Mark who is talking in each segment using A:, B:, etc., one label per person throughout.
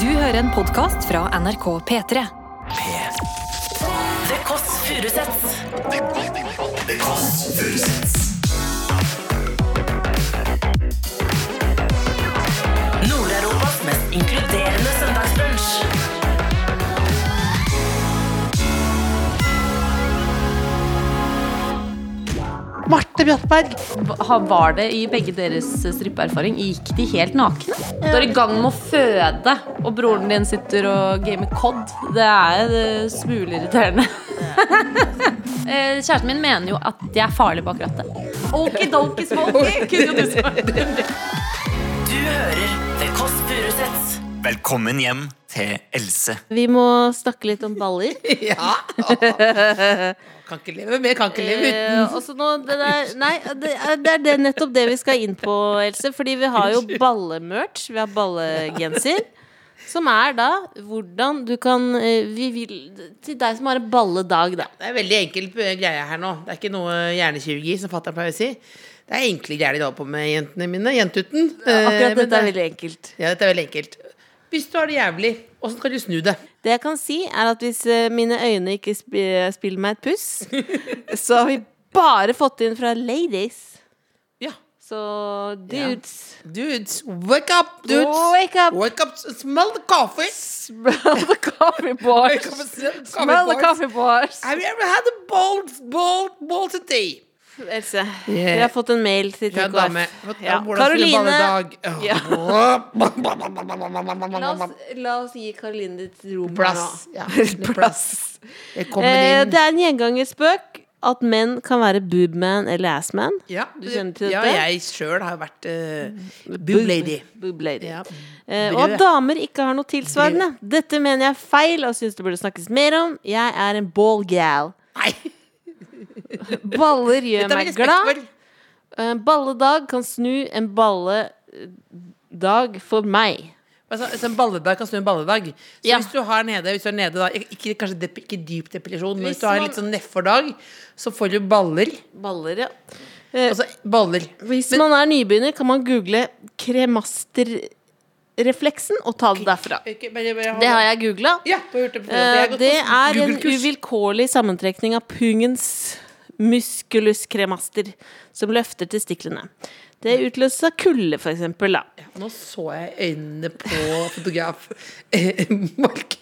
A: Du hører en podkast fra NRK P3.
B: Det Kåss Furuseths. Nord-Europas mest inkluderende søndagsbrunsch.
C: Marte Bjartberg.
D: Ha- Var det i begge deres strippeerfaring? Gikk de helt nakne? Du er i gang med å føde, og broren din sitter og gamer COD. Det er eh, smuleirriterende. Eh, Kjæresten min mener jo at jeg er farlig bak rattet. Okidoki smoky! Kunne jo du svart.
B: Du hører The Kåss Furuseths.
E: Velkommen hjem til Else.
C: Vi må snakke litt om baller.
F: Ja. Kan ikke leve med, kan ikke leve uten.
C: Eh, også nå, det der, nei, det er, det er det nettopp det vi skal inn på, Else. Fordi vi har jo ballemerch. Vi har ballegenser. Som er da hvordan du kan eh, Vi vil Til deg som har en balledag, da.
F: Det er veldig enkel eh, greie her nå. Det er ikke noe hjernekirurgi, som fatter'n pleier å si. Det er enkle greier de holder på med, jentene mine. Jentuten. Eh,
C: Akkurat
F: men
C: dette er
F: det-
C: veldig enkelt.
F: Ja, dette er veldig enkelt. Hvis du har det jævlig, åssen kan du snu det?
C: Det jeg kan si, er at hvis eh, mine øyne ikke sp eh, spiller meg et puss, så har vi bare fått inn fra ladies.
F: Ja.
C: Så dudes
F: Dudes, wake up, dudes!
C: Wake up!
F: Wake up, s- smell the coffee!
C: Smell the coffee bars!
F: Wake up and smell the
C: Smell the
F: coffee boys.
C: coffee bars!
F: Have you ever had a bold, bold, bold today?
C: Else, vi har fått en mail til
F: Ja,
C: TKF.
F: dame.
C: Ja.
F: Karoline!
C: Karoline, Ja. la
F: Ja.
C: oss, la oss gi Karoline ditt rom her
F: Plass.
C: nå.
F: Ja, plass.
C: Eh,
F: Velkommen
C: det
F: inn.
C: er en gjengangerspøk at menn kan være boobman eller assman.
F: Ja,
C: du kjenner til
F: ja,
C: dette? Mm.
F: jeg sjøl har vært uh, boob lady.
C: Boob lady.
F: Ja.
C: Eh, og at damer ikke har noe tilsvarende. Dette mener jeg er feil og syns det burde snakkes mer om. Jeg er en ball gal.
F: Nei!
C: Baller gjør
F: Dette har vi
C: meg
F: respekt
C: glad.
F: for.
C: En balledag kan snu en balledag for meg.
F: Altså, altså, en balledag kan snu en balledag. Så
C: Ja.
F: hvis du har nede, hvis du er nede da, ikke, kanskje dep ikke dyp depresjon, men
C: Hvis
F: hvis du har
C: man-
F: en litt sånn nedfor dag, så får du baller.
C: Baller, ja.
F: Altså baller.
C: Hvis man er nybegynner, kan man google kremasterrefleksen og ta det derfra.
F: Ok, bare- bare hold
C: Det har
F: da.
C: jeg googla.
F: Ja, du har gjort det. før. Jeg har gått
C: Det
F: på
C: er en
F: Google-kurs.
C: uvilkårlig sammentrekning av pungens musculus cremaster, som løfter testiklene. Det utløses av kulde, for eksempel. Da.
F: Nå så jeg øynene på fotograf eh, Mark.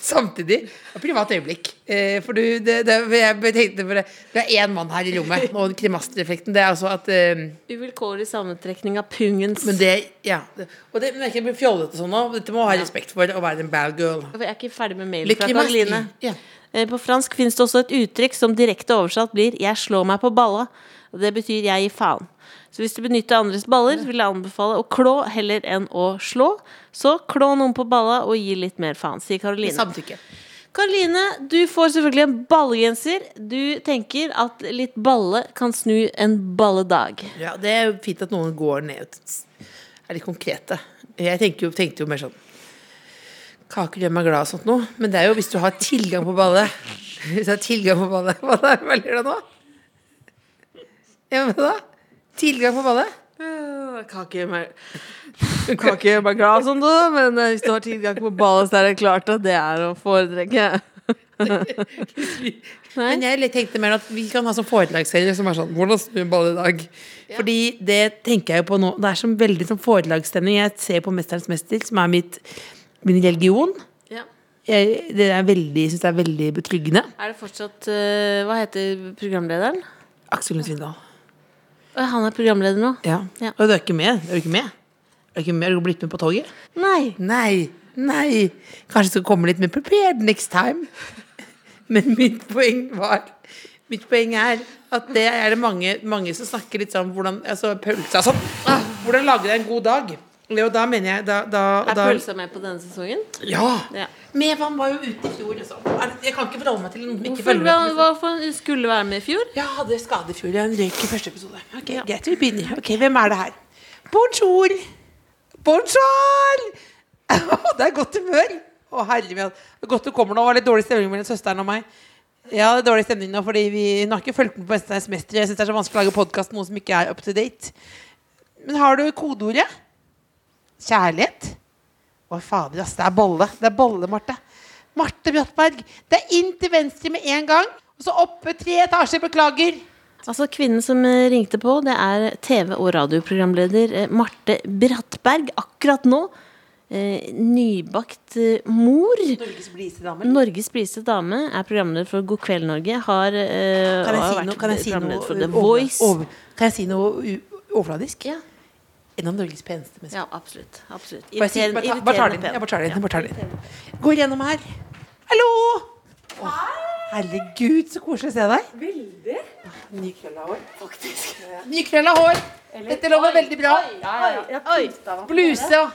F: Samtidig et privat øyeblikk. Eh, For du, det, det, jeg tenkte bare Det er én mann her i rommet, og kremastereffekten, det er altså at eh,
C: Uvilkårlig sammentrekning av pungens
F: Men det Ja. det- Og det, men jeg kan bli fjollete sånn nå. Dette må ha respekt for å være en bad girl.
C: Jeg er ikke ferdig med mailen
F: Litt
C: fra
F: kremaster.
C: Karoline.
F: Ja.
C: Eh, På fransk finnes det også et uttrykk som direkte oversatt blir 'jeg slår meg på balla'. Og det betyr 'jeg gir faen'. Så hvis du benytter andres baller, vil jeg anbefale å klå heller enn å slå. Så klå noen på balla og gi litt mer faen, sier Karoline.
F: Samtykke.
C: Karoline, du får selvfølgelig en ballegenser. Du tenker at litt balle kan snu en balledag.
F: Ja, det er jo fint at noen går ned og er litt konkrete. Jeg tenker jo, tenkte jo mer sånn Kaker gjør meg glad og sånt noe. Men det er jo hvis du har tilgang på ballet. Hvis du har tilgang på ballet Hva da? Hva ler du av nå? Ja, men hva da? Tilgang på ballet?
C: Kake gjør meg glad, sånn da, men hvis du har tilgang på ballet, så er det klart at det er å foretrekke.
F: Men jeg litt tenkte mer at vi kan ha sånn foredragsserie som er sånn Hvordan snur en ball i dag? Fordi det tenker jeg jo på nå. Det er sånn veldig sånn foredragsstemning. Jeg ser på 'Mesterens mester', som er mitt, min religion.
C: Ja.
F: Jeg, det er veldig, synes det er veldig betryggende.
C: Er det fortsatt eh, Hva heter programlederen?
F: Aksel Lund Svindal.
C: Å, Han er programleder nå?
F: Ja.
C: Ja.
F: Og du er ikke med? Er du ikke med? Er du ikke med? Har du blitt med på toget?
C: Nei!
F: Nei. Nei. Kanskje du skal komme litt mer prepared next time. Men mitt poeng var Mitt poeng er at det er det mange, mange som snakker litt sånn hvordan altså, pølsa og sånn. Ah, Hvordan lage deg en god dag? Og da mener jeg da, da,
C: Er
F: da
C: pølsa med på denne sesongen?
F: Ja.
C: Ja.
F: Men han var jo ute i fjor, altså. Er- Jeg kan ikke forholde meg til noen som ikke
C: Hvorfor,
F: følger med. på-
C: hvorfor skulle være med i fjor?
F: Jeg hadde skade i fjor. Jeg røyk i første episode. Ok, Greit, vi begynner. Ok, Hvem er det her? Bonjour! Bonjour! Å, det er godt humør! Å, herre min. Godt du kommer nå. Det var litt dårlig stemning mellom søsteren og meg. Ja, det er dårlig stemning nå, fordi vi, hun har ikke fulgt med på Mesternes mester. Jeg syns det er så vanskelig å lage podkast noe som ikke er up to date. Men har du kodeordet? Kjærlighet? Å Å, fader, ass. Det er bolle. Det er bolle, Marte. Marte Brattberg. Det er inn til venstre med en gang. Og så oppe tre etasjer. Beklager.
C: Altså, Kvinnen som eh, ringte på, det er TV- og radioprogramleder eh, Marte Brattberg. Akkurat nå eh, nybakt eh, mor.
F: Norges blideste dame.
C: Norges blideste dame er programleder for God kveld, Norge. Har, eh,
F: Kan jeg
C: har
F: si noe, kan jeg si noe,
C: programleder for The
F: over-
C: Voice.
F: over- kan jeg si noe u- overfladisk?
C: Ja.
F: En av Norges peneste mennesker.
C: Ja, absolutt. absolutt.
F: Bare si- bare ta- bare tar det inn. Jeg bare tar det inn. jeg Bare tar det inn. Går gjennom her. Hallo! Å, herregud, så koselig å se deg. Veldig. Nykrølla hår. Faktisk. Nykrølla hår. Dette lover veldig bra. Bluse og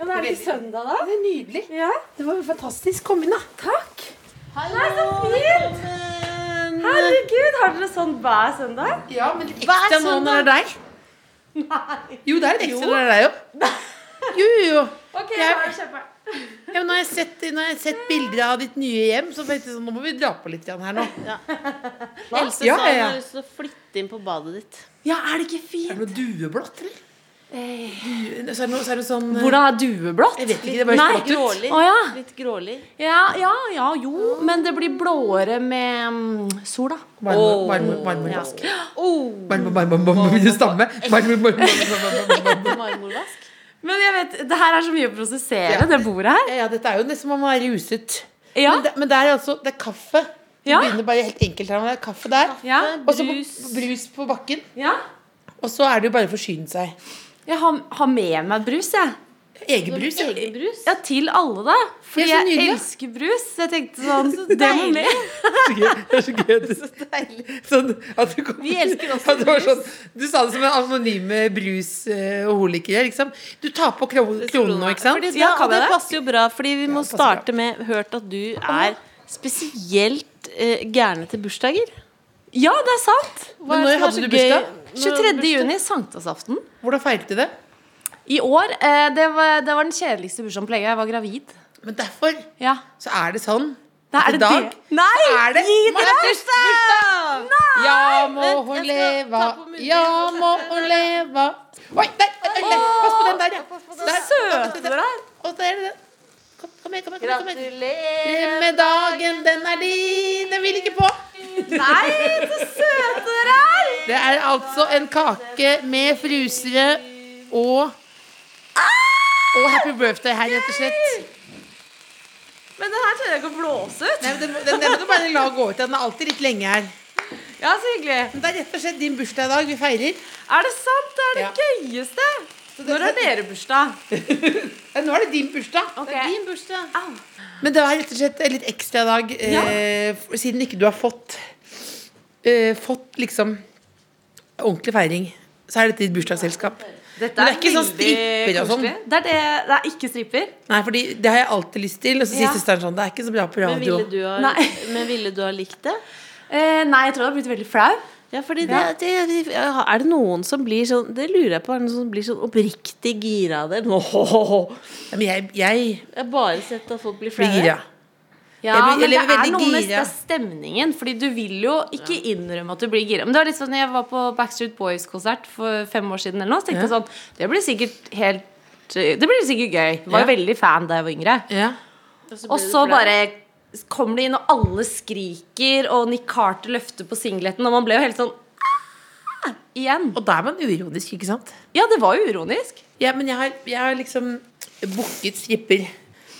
G: Men er det ikke søndag, da?
F: Det er nydelig.
G: Ja.
F: Det var jo fantastisk. Kom inn, da.
G: Takk. Fint. Herregud, har dere sånn hver søndag?
F: Ja, men litt ekstra nå når det er deg. Jo, det er litt ekstra når det er deg, jo. Jo, jo, jo.
G: Ok,
F: Ja.
G: da kjøper jeg.
F: Ja, men når, jeg har sett, når jeg har sett bilder av ditt nye hjem, så tenkte jeg sånn, nå må vi dra på litt grann her nå.
C: Else
F: Ja,
C: sa hun
F: ja, ja.
C: har lyst til å flytte inn på badet ditt.
G: Ja, er det ikke fint? Eh.
F: Er det noe dueblått, eller? Due, så, er det noe, så er det sånn eh,
D: Hvordan er dueblått?
F: Jeg vet ikke, det bare
D: Nei.
F: slått ut.
C: Grålig.
D: Å, ja.
C: Litt grålig.
D: Ja, ja, ja, jo. Men det blir blåere med mm, sola.
F: Marmor- marmor- Marmorvask.
C: Oh,
F: Marmor- marmor- marmor- Begynner å stamme. Marmor- marmor- marmor- marmor- marmor.
C: marmorvask.
D: Men jeg vet, det her er så mye å prosessere,
F: Ja.
D: det bordet her.
F: Ja, ja, dette er jo nesten som om man er ruset.
D: Ja.
F: Men, det, men det er altså det er kaffe. Vi
D: Ja.
F: begynner bare helt enkelt her. men Det er kaffe der.
D: Ja.
F: Og så på-
C: brus.
F: brus på bakken.
D: ja.
F: Og så er det jo bare å forsyne seg.
D: Jeg har, har med meg brus, jeg.
F: Egen brus. ja.
C: Sånn Egen brus.
D: Ja, til alle, da. Fordi
F: Det er så
D: jeg
F: nydelig.
D: elsker brus. Så jeg tenkte sånn Det må med.
F: Det er så gøy. Det er så deilig. Sånn at du kom,
C: Vi elsker også
F: at det var sånn, Du sa det som en eh, anonyme brusholiker. Liksom. Du tar på kro- kronen nå, ikke sant?
C: Fordi,
D: Ja,
C: ja,
D: kan
C: og det
D: jeg det?
C: passer jo bra, fordi vi må
F: det passer
C: starte med hørt at du er spesielt eh, gæren etter bursdager.
D: Ja, det er sant.
F: Men når hadde du bursdag?
D: 23. juni, sankthansaften.
F: Hvordan feiret du det?
D: I år. Eh, det, var, det var den kjedeligste bursdagen på lenge. Jeg var gravid.
F: Men derfor
D: Ja.
F: så er det sånn.
D: Da
F: at i
D: er det
F: dag
D: det. Nei!
F: så er det
D: Gi dere
F: Martes bursdag! Ja, må
C: Vent,
F: hun
C: jeg skal
F: leva.
C: ta på munnbind.
F: Ja, må hun leva. Oi, der! der, der, der. Pass på den der, ja. Der.
D: Søte dere er.
F: Og der er det den. Kom, kom her, kom her. Kom her. Gratulerer med dagen, den er din. Den vil ikke på.
D: Nei, så søte dere er!
F: Det er altså en kake med frusere og og Happy Birthday her, rett og slett.
D: Men den her tør jeg ikke å blåse ut.
F: Nei, men den, den, den må du bare la gå ut. Den er alltid litt lenge her.
D: Ja, så hyggelig.
F: Men det er rett og slett din bursdag i dag. Vi feirer.
D: Er det sant? Det er det
F: Ja.
D: gøyeste. Når er dere bursdag?
F: Ja, nå er det din bursdag.
D: Ok.
F: Det er din bursdag.
D: Au.
F: Men det er rett og slett en litt ekstra dag,
D: Ja.
F: eh, f- siden ikke du har fått eh, Fått liksom ordentlig feiring. Så er dette ditt bursdagsselskap.
D: Dette
F: Men det er ikke sånn stripper og sånn.
D: koselig. Det er, det, det er ikke stripper.
F: Nei, fordi det har jeg alltid lyst til. Og så sier
D: Ja.
F: søsteren sånn Det er ikke så bra på
C: Men
F: radio.
C: ville, du ha,
D: Nei.
C: men ville du ha likt det?
D: Eh, nei, jeg tror jeg har blitt veldig flau.
C: Ja, fordi det, det, Er det noen som blir sånn Det lurer jeg på. Er det noen som blir sånn oppriktig gira av det? Nå, ho, ho, ho.
F: Ja, Men jeg, jeg
C: Jeg har bare sett at folk blir
F: blir
C: flaue.
F: gira.
D: Ja,
F: Jeg blir- jeg
D: men det
F: blir
D: er
F: veldig
D: noe med
F: gira.
D: det stemningen, Fordi du vil jo ikke innrømme at du blir gira. Men det var litt sånn, jeg var på Backstreet Boys-konsert for fem år siden, eller noe, så tenkte jeg sånn Det blir sikkert helt Det blir sikkert gøy. Jeg var jo
F: Ja.
D: veldig fan da jeg var yngre.
F: Ja.
D: Og så bare kom det inn, og alle skriker, og Nick Carter løfter på singleten, og man ble jo helt sånn «Ah!» Igjen.
F: Og da er man uironisk, ikke sant?
D: Ja, det var jo uronisk.
F: Ja, men jeg har, jeg har liksom booket stripper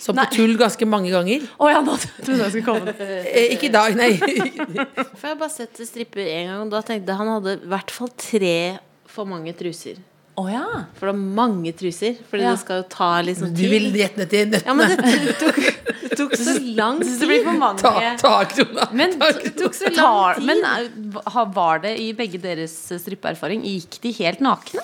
F: som på
D: Nei.
F: tull ganske mange ganger.
D: Å ja, nå trodde jeg skulle komme.
F: Eh, ikke i dag, nei.
C: For jeg har bare sett stripper én gang, og da tenkte jeg han hadde i hvert fall tre for mange truser.
D: Å ja.
C: For det er mange truser. Fordi
D: Ja.
C: det skal jo ta litt sånn
F: Du vil
C: tid.
F: rett ned til
C: Ja,
F: nøttene.
C: men det tok, det tok så lang
D: Så det blir
C: tid.
D: for mange
F: Ta, ta krona.
D: Men
F: ta
D: t-
F: krona.
D: tok så
C: lang
D: tar,
C: tid.
D: Men eh, ha- var det i begge deres eh, strippeerfaring Gikk de helt nakne?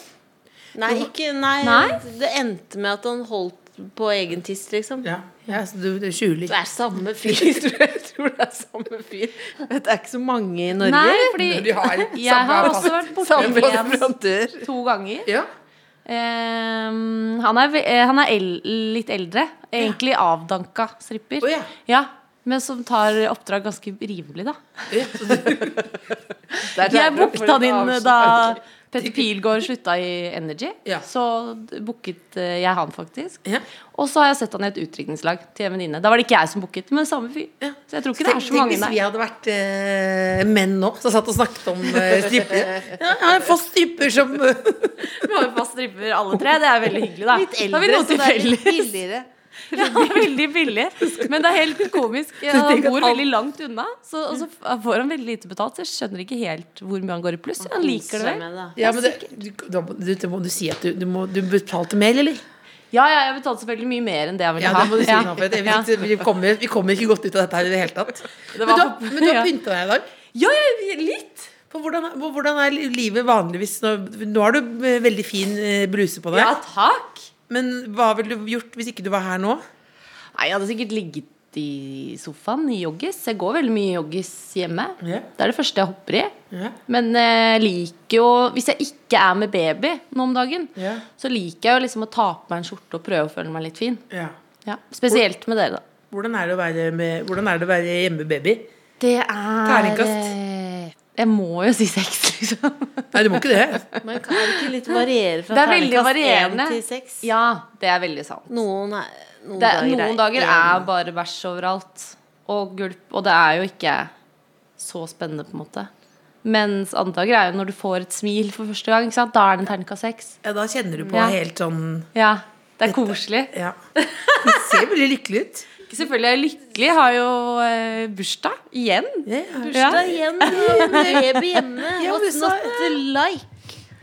C: Nei, ikke, nei,
D: Nei?
C: det endte med at han holdt på egen tiss, liksom.
F: Ja, ja, så du, du skjuler.
C: Det er samme fyr, tror jeg. jeg tror det er samme fyr. Men det er ikke så mange i Norge.
D: Nei, fordi
F: Når de har
D: jeg har også vært
F: samme
D: borti en
F: leverandør.
D: to ganger.
F: Ja.
D: Ehm, han er, ve- eh, han er el, litt eldre. Egentlig avdanka stripper.
F: Å, ja.
D: men som tar oppdrag ganske rimelig, da.
F: Ja, så du-
D: Jeg booka han inn eh, da Petter Pilgaard slutta i Energy,
F: Ja.
D: så booket eh, jeg han faktisk.
F: Ja.
D: Og så har jeg sett han i et utdrikningslag til en venninne. Da var det ikke jeg som booket, men samme fyr. Så jeg tror ikke det er så mange
F: hvis vi
D: der.
F: hadde vært eh, menn nå, som satt og snakket om eh, strippere. Ja, jeg har en fast stripper som eh,
D: Vi har jo fast stripper alle tre, det er veldig hyggelig, da.
F: litt
D: da har vi
F: eldre,
D: noe
F: så det er litt
D: tilfeldig.
F: billigere.
D: Ja, veldig billig. Men det er helt komisk. Han bor veldig langt unna, så, og så f- får han veldig lite betalt. Så jeg skjønner ikke helt hvor mye han går i pluss. Han liker det vel.
F: Ja, men det, du, da må- du, det må du si at du, du, må, du betalte mer, eller?
D: Ja, ja, jeg betalte selvfølgelig mye mer enn det jeg ville
F: Ja,
D: ha.
F: det må du si
D: Ja.
F: nå, for at vi, vi, kommer, vi kommer ikke godt ut av dette her i det hele tatt.
D: Det
F: Men
D: var
F: du, har,
D: for-
F: men du har
D: ja.
F: pynta deg i dag.
D: Ja, ja, litt.
F: For hvordan, er- hvordan er livet vanligvis? Nå, nå har du eh, veldig fin eh, bluse på deg.
D: Ja, takk.
F: Men hva ville du gjort hvis ikke du var her nå?
D: Nei, jeg hadde sikkert ligget i sofaen i joggis. Jeg går veldig mye i joggis hjemme.
F: Ja.
D: Det er det første jeg hopper i.
F: Ja.
D: Men jeg liker jo Hvis jeg ikke er med baby nå om dagen,
F: Ja.
D: så liker jeg jo liksom å ta på meg en skjorte og prøve å føle meg litt fin.
F: Ja.
D: Ja. Spesielt med dere, da.
F: Hvordan er det å være, med, hvordan er det å være hjemmebaby?
D: Det er
F: Terningkast.
D: eh, Jeg må jo si seks, liksom.
F: Nei, du må ikke det.
C: Men kan er det ikke litt variere fra
D: Det er veldig
C: terningkast
D: varierende.
C: én til seks?
D: Ja, det er veldig sant.
C: Noen, er, noen,
D: Det,
C: dager,
D: noen dager er bare bæsj overalt og gulp, og det er jo ikke så spennende, på en måte. Mens andre dager er jo når du får et smil for første gang. Ikke sant? Da er det en terningkast seks.
F: Ja, da kjenner du på
D: Ja.
F: helt sånn
D: Ja, det er koselig.
F: Ja. Du ser veldig lykkelig ut.
D: Selvfølgelig er jeg lykkelig. Har jo eh, bursdag igjen.
F: Ja,
D: Ja.
C: Da igjen, baby hjemme.
F: Ja, men
C: What's
F: så-
C: not to like?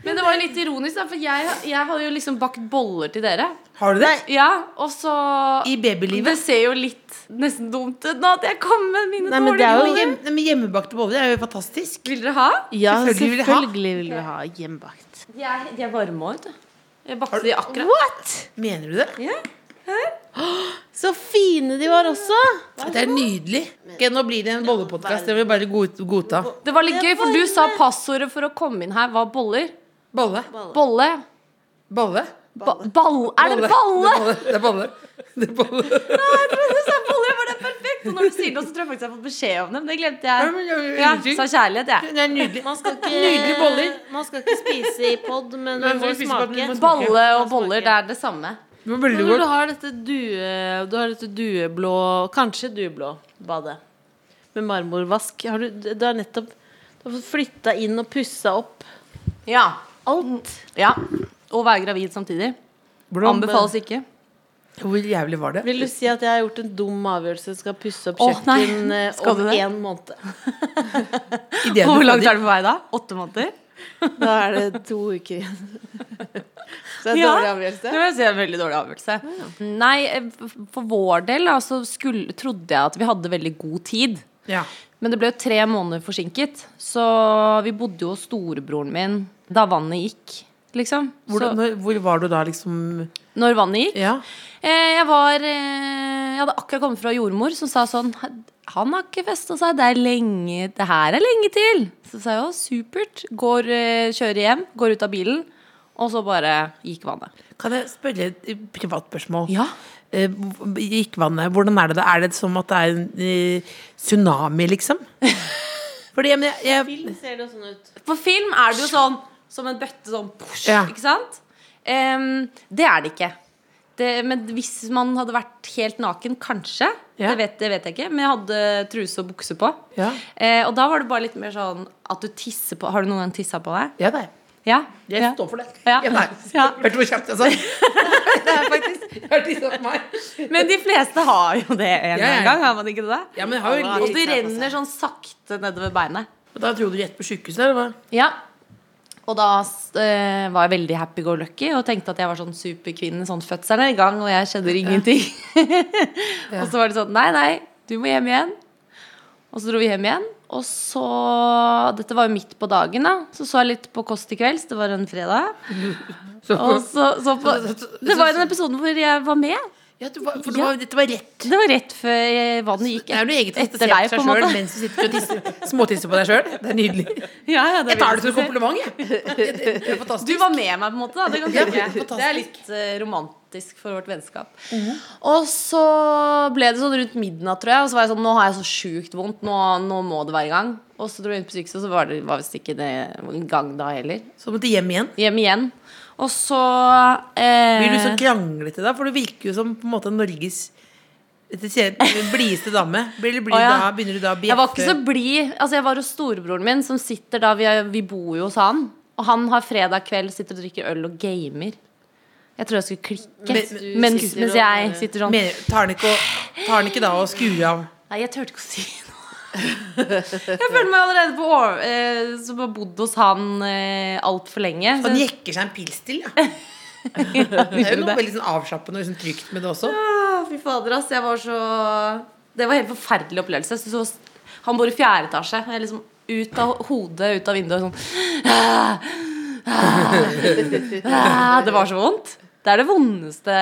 D: Men det var jo litt ironisk, da, for jeg, jeg hadde jo liksom bakt boller til dere.
F: Har du det?
D: Ja, og så
F: I babylivet?
D: Det ser jo litt nesten dumt ut nå at jeg kom med mine
C: Nei, men
D: dårlige
C: det er jo
D: boller.
F: Hjem, nei, men hjemmebakte boller er jo fantastisk.
D: Vil dere ha?
C: Ja,
F: Selvfølgelig vil jeg ha.
C: selvfølgelig vil vi ha hjemmebakt.
D: De er, de er varme òg, vet du. Jeg bakte de akkurat.
C: What?
F: Mener du det?
C: Så fine de var også!
F: Det er nydelig. Ok, nå blir det en bollepodkast. Det må vi bare god, godta.
D: Det var litt gøy, for du sa passordet for å komme inn her var boller.
F: Bolle.
D: Bolle.
F: Bolle.
D: Ba ball. Er det balle?
F: Det er bolle. Det er bolle. Det er bolle.
D: Jeg trodde du sa bolle, jeg var det perfekt. Og når du sier det, så tror jeg faktisk jeg har fått beskjed om dem. Det glemte jeg.
F: men jeg-
D: Ja, sa kjærlighet, jeg.
F: Det er nydelig.
C: Man skal ikke,
F: Nydelige boller.
C: Man skal ikke spise i pod, men
F: Nei,
C: man
F: for
C: må
F: vi spiser på at vi
C: smake.
F: må smake.
D: Balle og boller, det er det samme.
F: Det var veldig
C: Når du
F: godt.
C: har dette due, du har dette dueblå Kanskje dueblå badet med marmorvask. Har du, du har nettopp du har fått flytta inn og pussa opp
D: Ja.
C: alt.
D: ja. Å være gravid samtidig. eh,
F: Hvordan-
D: Anbefales ikke.
F: Hvor jævlig var det?
C: Vil du si at jeg har gjort en dum avgjørelse? Skal pusse opp
D: Åh, nei.
C: kjøkken eh,
D: Skal
C: om
D: du det?
C: én måned.
F: Ideen du
D: Og hvor langt
F: hadde-
D: er du på vei da? Åtte måneder?
C: Da er det to uker igjen. Så det er en
D: Ja.
C: dårlig
D: Det
C: avgjørelse.
D: vil jeg si er en veldig dårlig avgjørelse. Nei, eh, f- for vår del da, så skulle, trodde jeg at vi hadde veldig god tid.
F: Ja.
D: Men det ble jo tre måneder forsinket, så vi bodde jo hos storebroren min da vannet gikk. Liksom.
F: Hvordan,
D: så,
F: når, hvor var du da, liksom?
D: når vannet gikk.
F: Ja.
D: Eh, jeg var eh, Jeg hadde akkurat kommet fra jordmor, som sa sånn Han har ikke festa seg, det er lenge Det her er lenge til. Så sa jeg jo supert. Går, eh, kjører hjem, går ut av bilen, og så bare gikk vannet.
F: Kan jeg spørre et privat spørsmål?
D: Ja.
F: Eh, hvor- Gikk vannet? Hvordan er det da? Er det som at det er en eh, tsunami, liksom? Fordi jeg, men jeg, jeg
C: Ser det jo sånn ut.
D: På film er det jo sånn som en bøtte sånn push,
F: Ja.
D: Ikke sant? Em, det er det ikke. Det, men hvis man hadde vært helt naken, kanskje.
F: Ja.
D: Det, vet, det vet jeg ikke. Men jeg hadde truse og bukse på.
F: Ja.
D: Eh, og da var det bare litt mer sånn at du tisser på Har du noen gang tissa på deg?
F: Ja, nei.
D: Ja?
F: Jeg
D: ja.
F: står for det.
D: Ja.
F: Ja, nei.
D: Ja.
F: Hørte du hvor kjapt jeg sa det? er faktisk Jeg har tisset på meg.
D: Men de fleste har jo det en
F: Ja, ja.
D: gang, har man ikke det?
F: Ja, men jeg har jo
D: og det renner sånn sakte nedover beinet.
F: Og Da dro du rett på sjukehuset, eller hva?
D: Ja. Og da eh, var jeg veldig happy go lucky og tenkte at jeg var sånn superkvinne, sånn fødselen er i gang, og jeg skjønner ingenting. og så var det sånn Nei, nei, du må hjem igjen. Og så dro vi hjem igjen. Og så Dette var jo midt på dagen, da. Så så jeg litt på Kåss til kvelds. Det var en fredag.
F: Så,
D: Og så, så på,
F: så-
D: det var en episode hvor jeg var med.
F: ja, du var, for det var, dette var rett.
D: Det var rett før vannet gikk
F: Det er jo noe eget å se
D: etter
F: på
D: deg,
F: seg
D: på en måte.
F: sjøl mens du sitter og tisser, småtisser på deg sjøl. Det er nydelig.
D: Ja, ja,
F: Jeg
D: vil
F: tar det
D: si.
F: som en kompliment, jeg. Det er fantastisk.
D: Du var med meg, på en måte. Da. Det, kan
F: Ja,
D: jeg tenke.
F: fantastisk. Mhm.
D: det er litt eh, romant, fantastisk for vårt vennskap. Og så ble det sånn rundt midnatt, tror jeg. Og så var jeg sånn Nå har jeg så sjukt vondt. Nå, nå må det være i gang. Og så dro jeg inn på sykehuset, og så var det var visst ikke det i gang da heller.
F: Så måtte hjem igjen.
D: Hjem igjen. Og så eh,
F: Blir du så kranglete da? For du virker jo som på en måte Norges dette sier jeg, blideste dame. Blir, blir
D: Å, ja.
F: da, begynner du da å bjeffe?
D: Jeg var ikke så blid. Altså, jeg var hos storebroren min, som sitter da Vi, er, vi bor jo hos han. Og han har fredag kveld, sitter og drikker øl og gamer. Jeg tror jeg skulle klikke.
F: Men- men-
D: mens,
F: sitter
D: mens
F: og- eh,
D: jeg sitter sånn.
F: Men tar den ikke, å- tar den ikke da og skrur av?
D: Nei, jeg turte ikke å si noe. Jeg føler meg allerede på over, eh, som har bodd hos han eh, altfor lenge.
F: Han
D: Så,
F: jekker seg en pils til, ja. Det er jo noe veldig sånn avslappende og liksom trygt med det også.
D: Ah, fy fader, ass. Jeg var så Det var en helt forferdelig opplevelse. Jeg synes det var... Han bor i fjerde etasje. Jeg liksom ut av hodet, ut av vinduet sånn ah, ah, ah. Det var så vondt. Det er det vondeste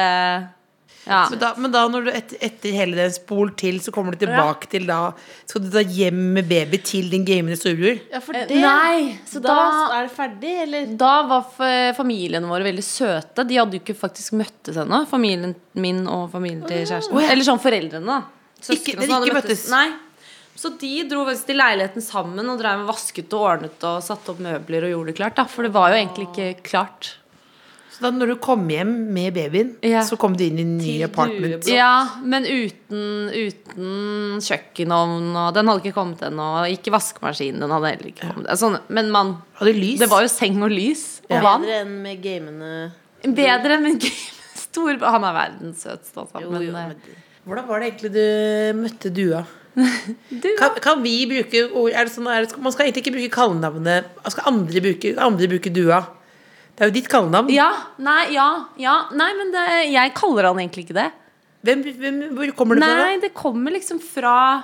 D: ja.
F: Men da, men da når du etter, etter hele det spol til, så kommer du tilbake til da Skal du da hjem med baby til din gamende storebror?
C: Ja, for det,
D: Nei, så
C: Eh, da,
D: da
C: er det ferdig, eller?
D: da var f- familiene våre veldig søte. De hadde jo ikke faktisk møttes ennå. Familien min og familien til kjæresten. Eller sånn foreldrene, da.
F: Ikke-
D: og
F: dere
D: sånn hadde
F: ikke møttes?
D: Nei. Så de dro faktisk til leiligheten sammen og drev og vasket og ordnet og satte opp møbler og gjorde det klart. Da. For det var jo egentlig ikke klart.
F: Så da når du kom hjem med babyen,
D: Ja.
F: så kom du inn i en ny apartment?
D: Ja, men uten, uten kjøkkenovn, og den hadde ikke kommet ennå. og Ikke vaskemaskin, den hadde heller ikke kommet. Sånn, men man
F: Hadde lys?
D: Det var jo seng og lys og
F: Ja.
D: vann.
C: Bedre enn med gamene.
D: Bedre, men gøy. Stor, han er verdens søteste, altså.
C: Jo,
D: men,
C: jo,
D: eh,
C: men
F: Hvordan var det egentlig du møtte dua? Kan, kan vi bruke ord er det sånn, er det, Man skal egentlig ikke bruke kallenavnet. Skal andre bruke, andre bruke dua? Det er jo ditt kallenavn.
D: Ja, nei, ja, ja. Nei, men det, jeg kaller han egentlig ikke det.
F: Hvem, hvem, hvor kommer det fra?
D: Nei,
F: da?
D: det kommer liksom fra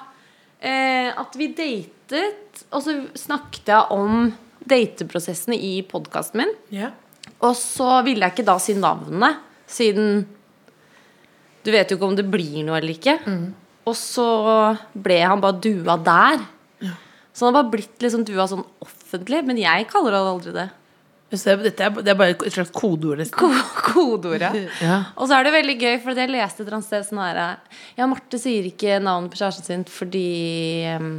D: eh, at vi datet, og så snakket jeg om dateprosessene i podkasten min.
F: Ja.
D: Og så ville jeg ikke da si navnet, siden du vet jo ikke om det blir noe eller ikke.
C: Mm.
D: Og så ble han bare dua der. Så han har bare blitt liksom dua sånn offentlig, men jeg kaller han aldri det.
F: Så det, dette er, det er bare et slags kodeord, nesten.
D: Ko kodeordet.
F: Ja.
D: Og så er det veldig gøy, for jeg leste et eller annet sted sånn her Ja, Marte sier ikke navnet på kjæresten sin fordi ehm,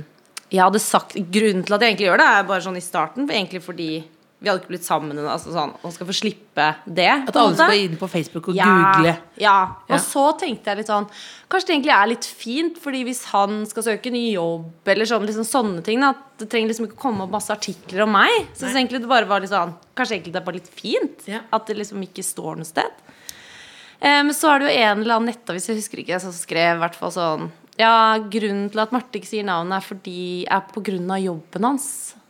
D: jeg hadde sagt Grunnen til at jeg egentlig gjør det, er bare sånn i starten, for egentlig fordi vi hadde ikke blitt sammen ennå. Altså sånn, og skal få slippe det.
F: At
D: på en
F: alle
D: måte.
F: skal inn på Facebook og google.
D: Ja.
F: Ja.
D: Og så tenkte jeg litt sånn Kanskje det egentlig er litt fint, Fordi hvis han skal søke ny jobb eller sånn, liksom sånne ting, da, at det trenger liksom ikke komme opp masse artikler om meg. Så jeg synes egentlig det bare var litt sånn Kanskje egentlig det er bare litt fint?
F: Ja.
D: At det liksom ikke står noe sted. Eh, Men så er det jo en eller annen nettavis, jeg husker ikke, som skrev i hvert fall sånn Ja, grunnen til at Marte ikke sier navnet, er fordi er på grunn av jobben hans.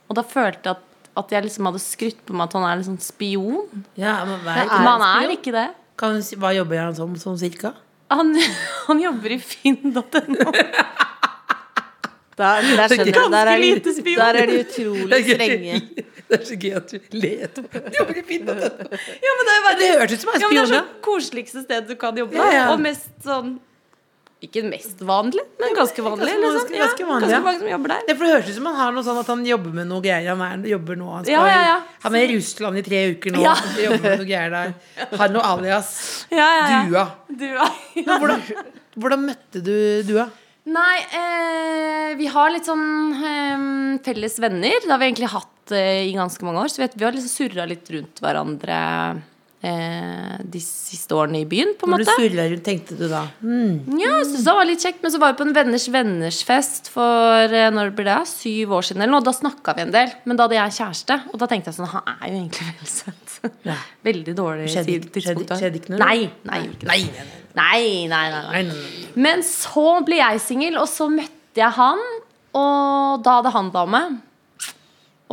D: Og da følte jeg at at jeg liksom hadde skrytt på meg at han er liksom spion.
F: Ja, men hva
D: Men han er ikke det.
F: Kan du si- hva jobber han som, sånn cirka?
D: Han, han jobber i finn.no.
C: Der, der skjønner jeg. Der er,
F: Ganske lite
C: de-
F: spion.
C: der er de utrolig strenge.
F: Det er så gøy at du ler Du jobber i Finn.no. Ja, men det, er jo bare- det høres ut som en
D: Ja, men det
F: spion.
D: er så
F: da.
D: koseligste sted du kan jobbe.
F: Ja, ja.
D: Og mest sånn Ikke mest vanlig, men ganske vanlig.
F: ganske-
D: liksom. Ja,
F: ganske vanlig, ja.
D: Ganske mange som jobber der.
F: Det, for det høres ut som han har noe sånn at han jobber med noe greier. Han er, jobber nå, han, skal,
D: Ja, ja, ja.
F: han er i Russland i tre uker nå.
D: Ja.
F: og Jobber med noe greier der. Han og alias
D: Ja, ja, ja.
F: Dua.
D: Du, ja.
F: Men hvordan, hvordan møtte du Dua?
D: Nei, eh, vi har litt sånn eh, felles venner. Det har vi egentlig hatt eh, i ganske mange år. Så vi, vi har liksom surra litt rundt hverandre eh, de siste årene i byen, på en
F: Når du
D: måte.
F: surra rundt, tenkte du da
D: Ja, jeg synes det var litt kjekt, men så var vi på en venners venners fest for eh, når det blir det, syv år siden eller noe. og Da snakka vi en del, men da hadde jeg kjæreste. Og da tenkte jeg sånn, han er jo egentlig veldig søt.
F: Ja.
D: Veldig dårlig
F: Skjedde ikke-
D: tid- tidspunkt,
F: skjedde-
D: da.
F: skjedde ikke noe?
D: Nei, nei, gjorde ikke det. nei, nei, nei, nei.
F: Nei, nei, nei.
D: Men så ble jeg singel, og så møtte jeg han, og da hadde han dame.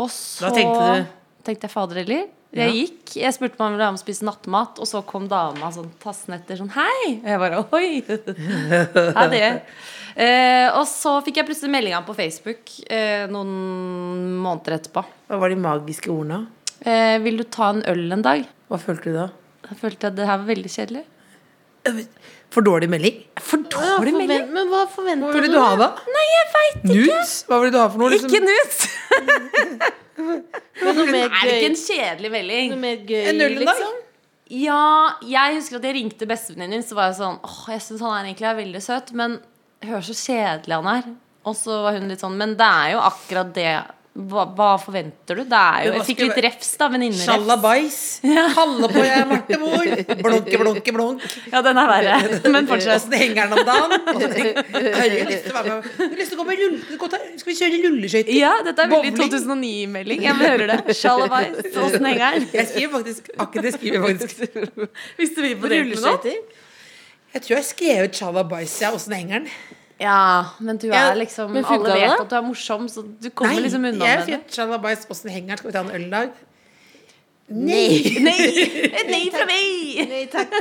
D: Og så
F: Da tenkte du-
D: tenkte jeg fader heller. Jeg gikk, jeg spurte meg om jeg ville være med og spise nattmat, og så kom dama sånn tassende etter sånn hei. Og jeg bare oi. Hei, det. Eh, og så fikk jeg plutselig meldinga på Facebook eh, noen måneder etterpå.
F: Hva var de magiske ordene?
D: Eh, vil du ta en øl en dag?
F: Hva følte du da?
D: Da følte jeg at det her var veldig kjedelig.
F: For dårlig melding?
D: For dårlig melding.
C: Men hva
F: Hva
C: forventer
F: ville du ha da?
D: Nei, jeg veit
F: Nudes? Hva ville du ha for noe? Liksom?
D: ikke nudes!
C: du? Noe mer
D: Er det ikke
C: gøy?
D: en kjedelig melding?
C: Noe mer gøy,
F: En øl en dag?
C: liksom?
D: Ja, jeg husker at jeg ringte bestevenninnen min, så var jeg sånn Åh, jeg syns han er egentlig er veldig søt, men hør så kjedelig han er. Og så var hun litt sånn Men det er jo akkurat det. Hva, hva forventer du? Det er jo
F: Men hva
D: Jeg fikk
F: skulle
D: litt
F: være-
D: refs, da. Venninnerefs.
F: Sjalabais. Kalle på jeg er Marte Moel. Blunke, blunke, blunk.
D: Ja, den er verre. Men fortsett.
F: Åssen henger den om dagen? Og så tenk, Herregud, jeg har lyst til å være med. Jeg har lyst til å gå med rulle- gå ta- Skal vi kjøre rulleskøyter?
D: Ja, dette er veldig
F: Bowling.
D: 2009-melding. Jeg hører det. Shalabais. Åssen henger den?
F: Jeg skriver faktisk akkurat det skriver jeg faktisk.
D: Visste vi på
C: Rulleskøyter?
F: Jeg tror jeg skrev ut sjalabais, ja. Åssen henger den?
D: Ja, men du
F: Ja,
D: er liksom
C: men funka
D: Alle
C: det?
D: vet at du er morsom, så du kommer
F: Nei,
D: liksom unna
F: jeg
D: med det.
F: fikk sjalabais. Åssen henger den? Skal vi ta en øl i dag? Nei.
D: Et nei fra meg!
F: Nei takk.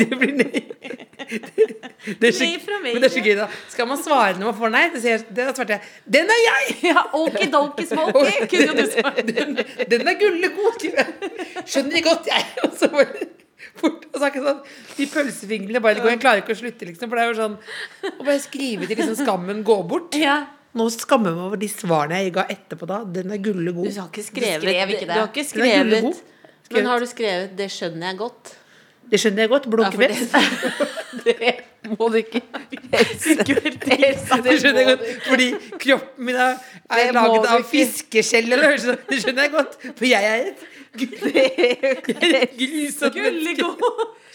F: Det blir nei. Det er så,
D: Nei fra meg.
F: men det er så gøy, da. Skal man svare når man får nei? Det sier, det da svarte jeg. Den er jeg!
D: Ja, okidoki smoky, kunne jo du svart.
F: Den, den er gullegod! skriver jeg. Skjønner jeg godt, jeg. Og så bare fort og snakke sånn. De pølsefingrene bare går. Jeg klarer ikke å slutte, liksom. For det er jo sånn Å bare skrive til liksom skammen gå bort.
D: Ja.
F: Nå skammer jeg meg over de svarene jeg ga etterpå da. Den er
C: Du
F: gullegod.
C: har ikke skrevet,
D: skrev ikke det.
C: Du har
F: Den
C: ikke
F: er
C: skrevet
F: gullegod.
C: Men har du skrevet 'Det skjønner jeg godt'?
F: Det skjønner jeg godt. Blunkefjes.
C: det, det må du ikke
F: Det skjønner jeg godt, fordi kroppen min er, er
C: Det må
F: laget
C: du
F: av
C: ikke.
F: fiskeskjell. Eller, noe sånt. det skjønner jeg godt, for jeg er et grusomt
C: Gullegod.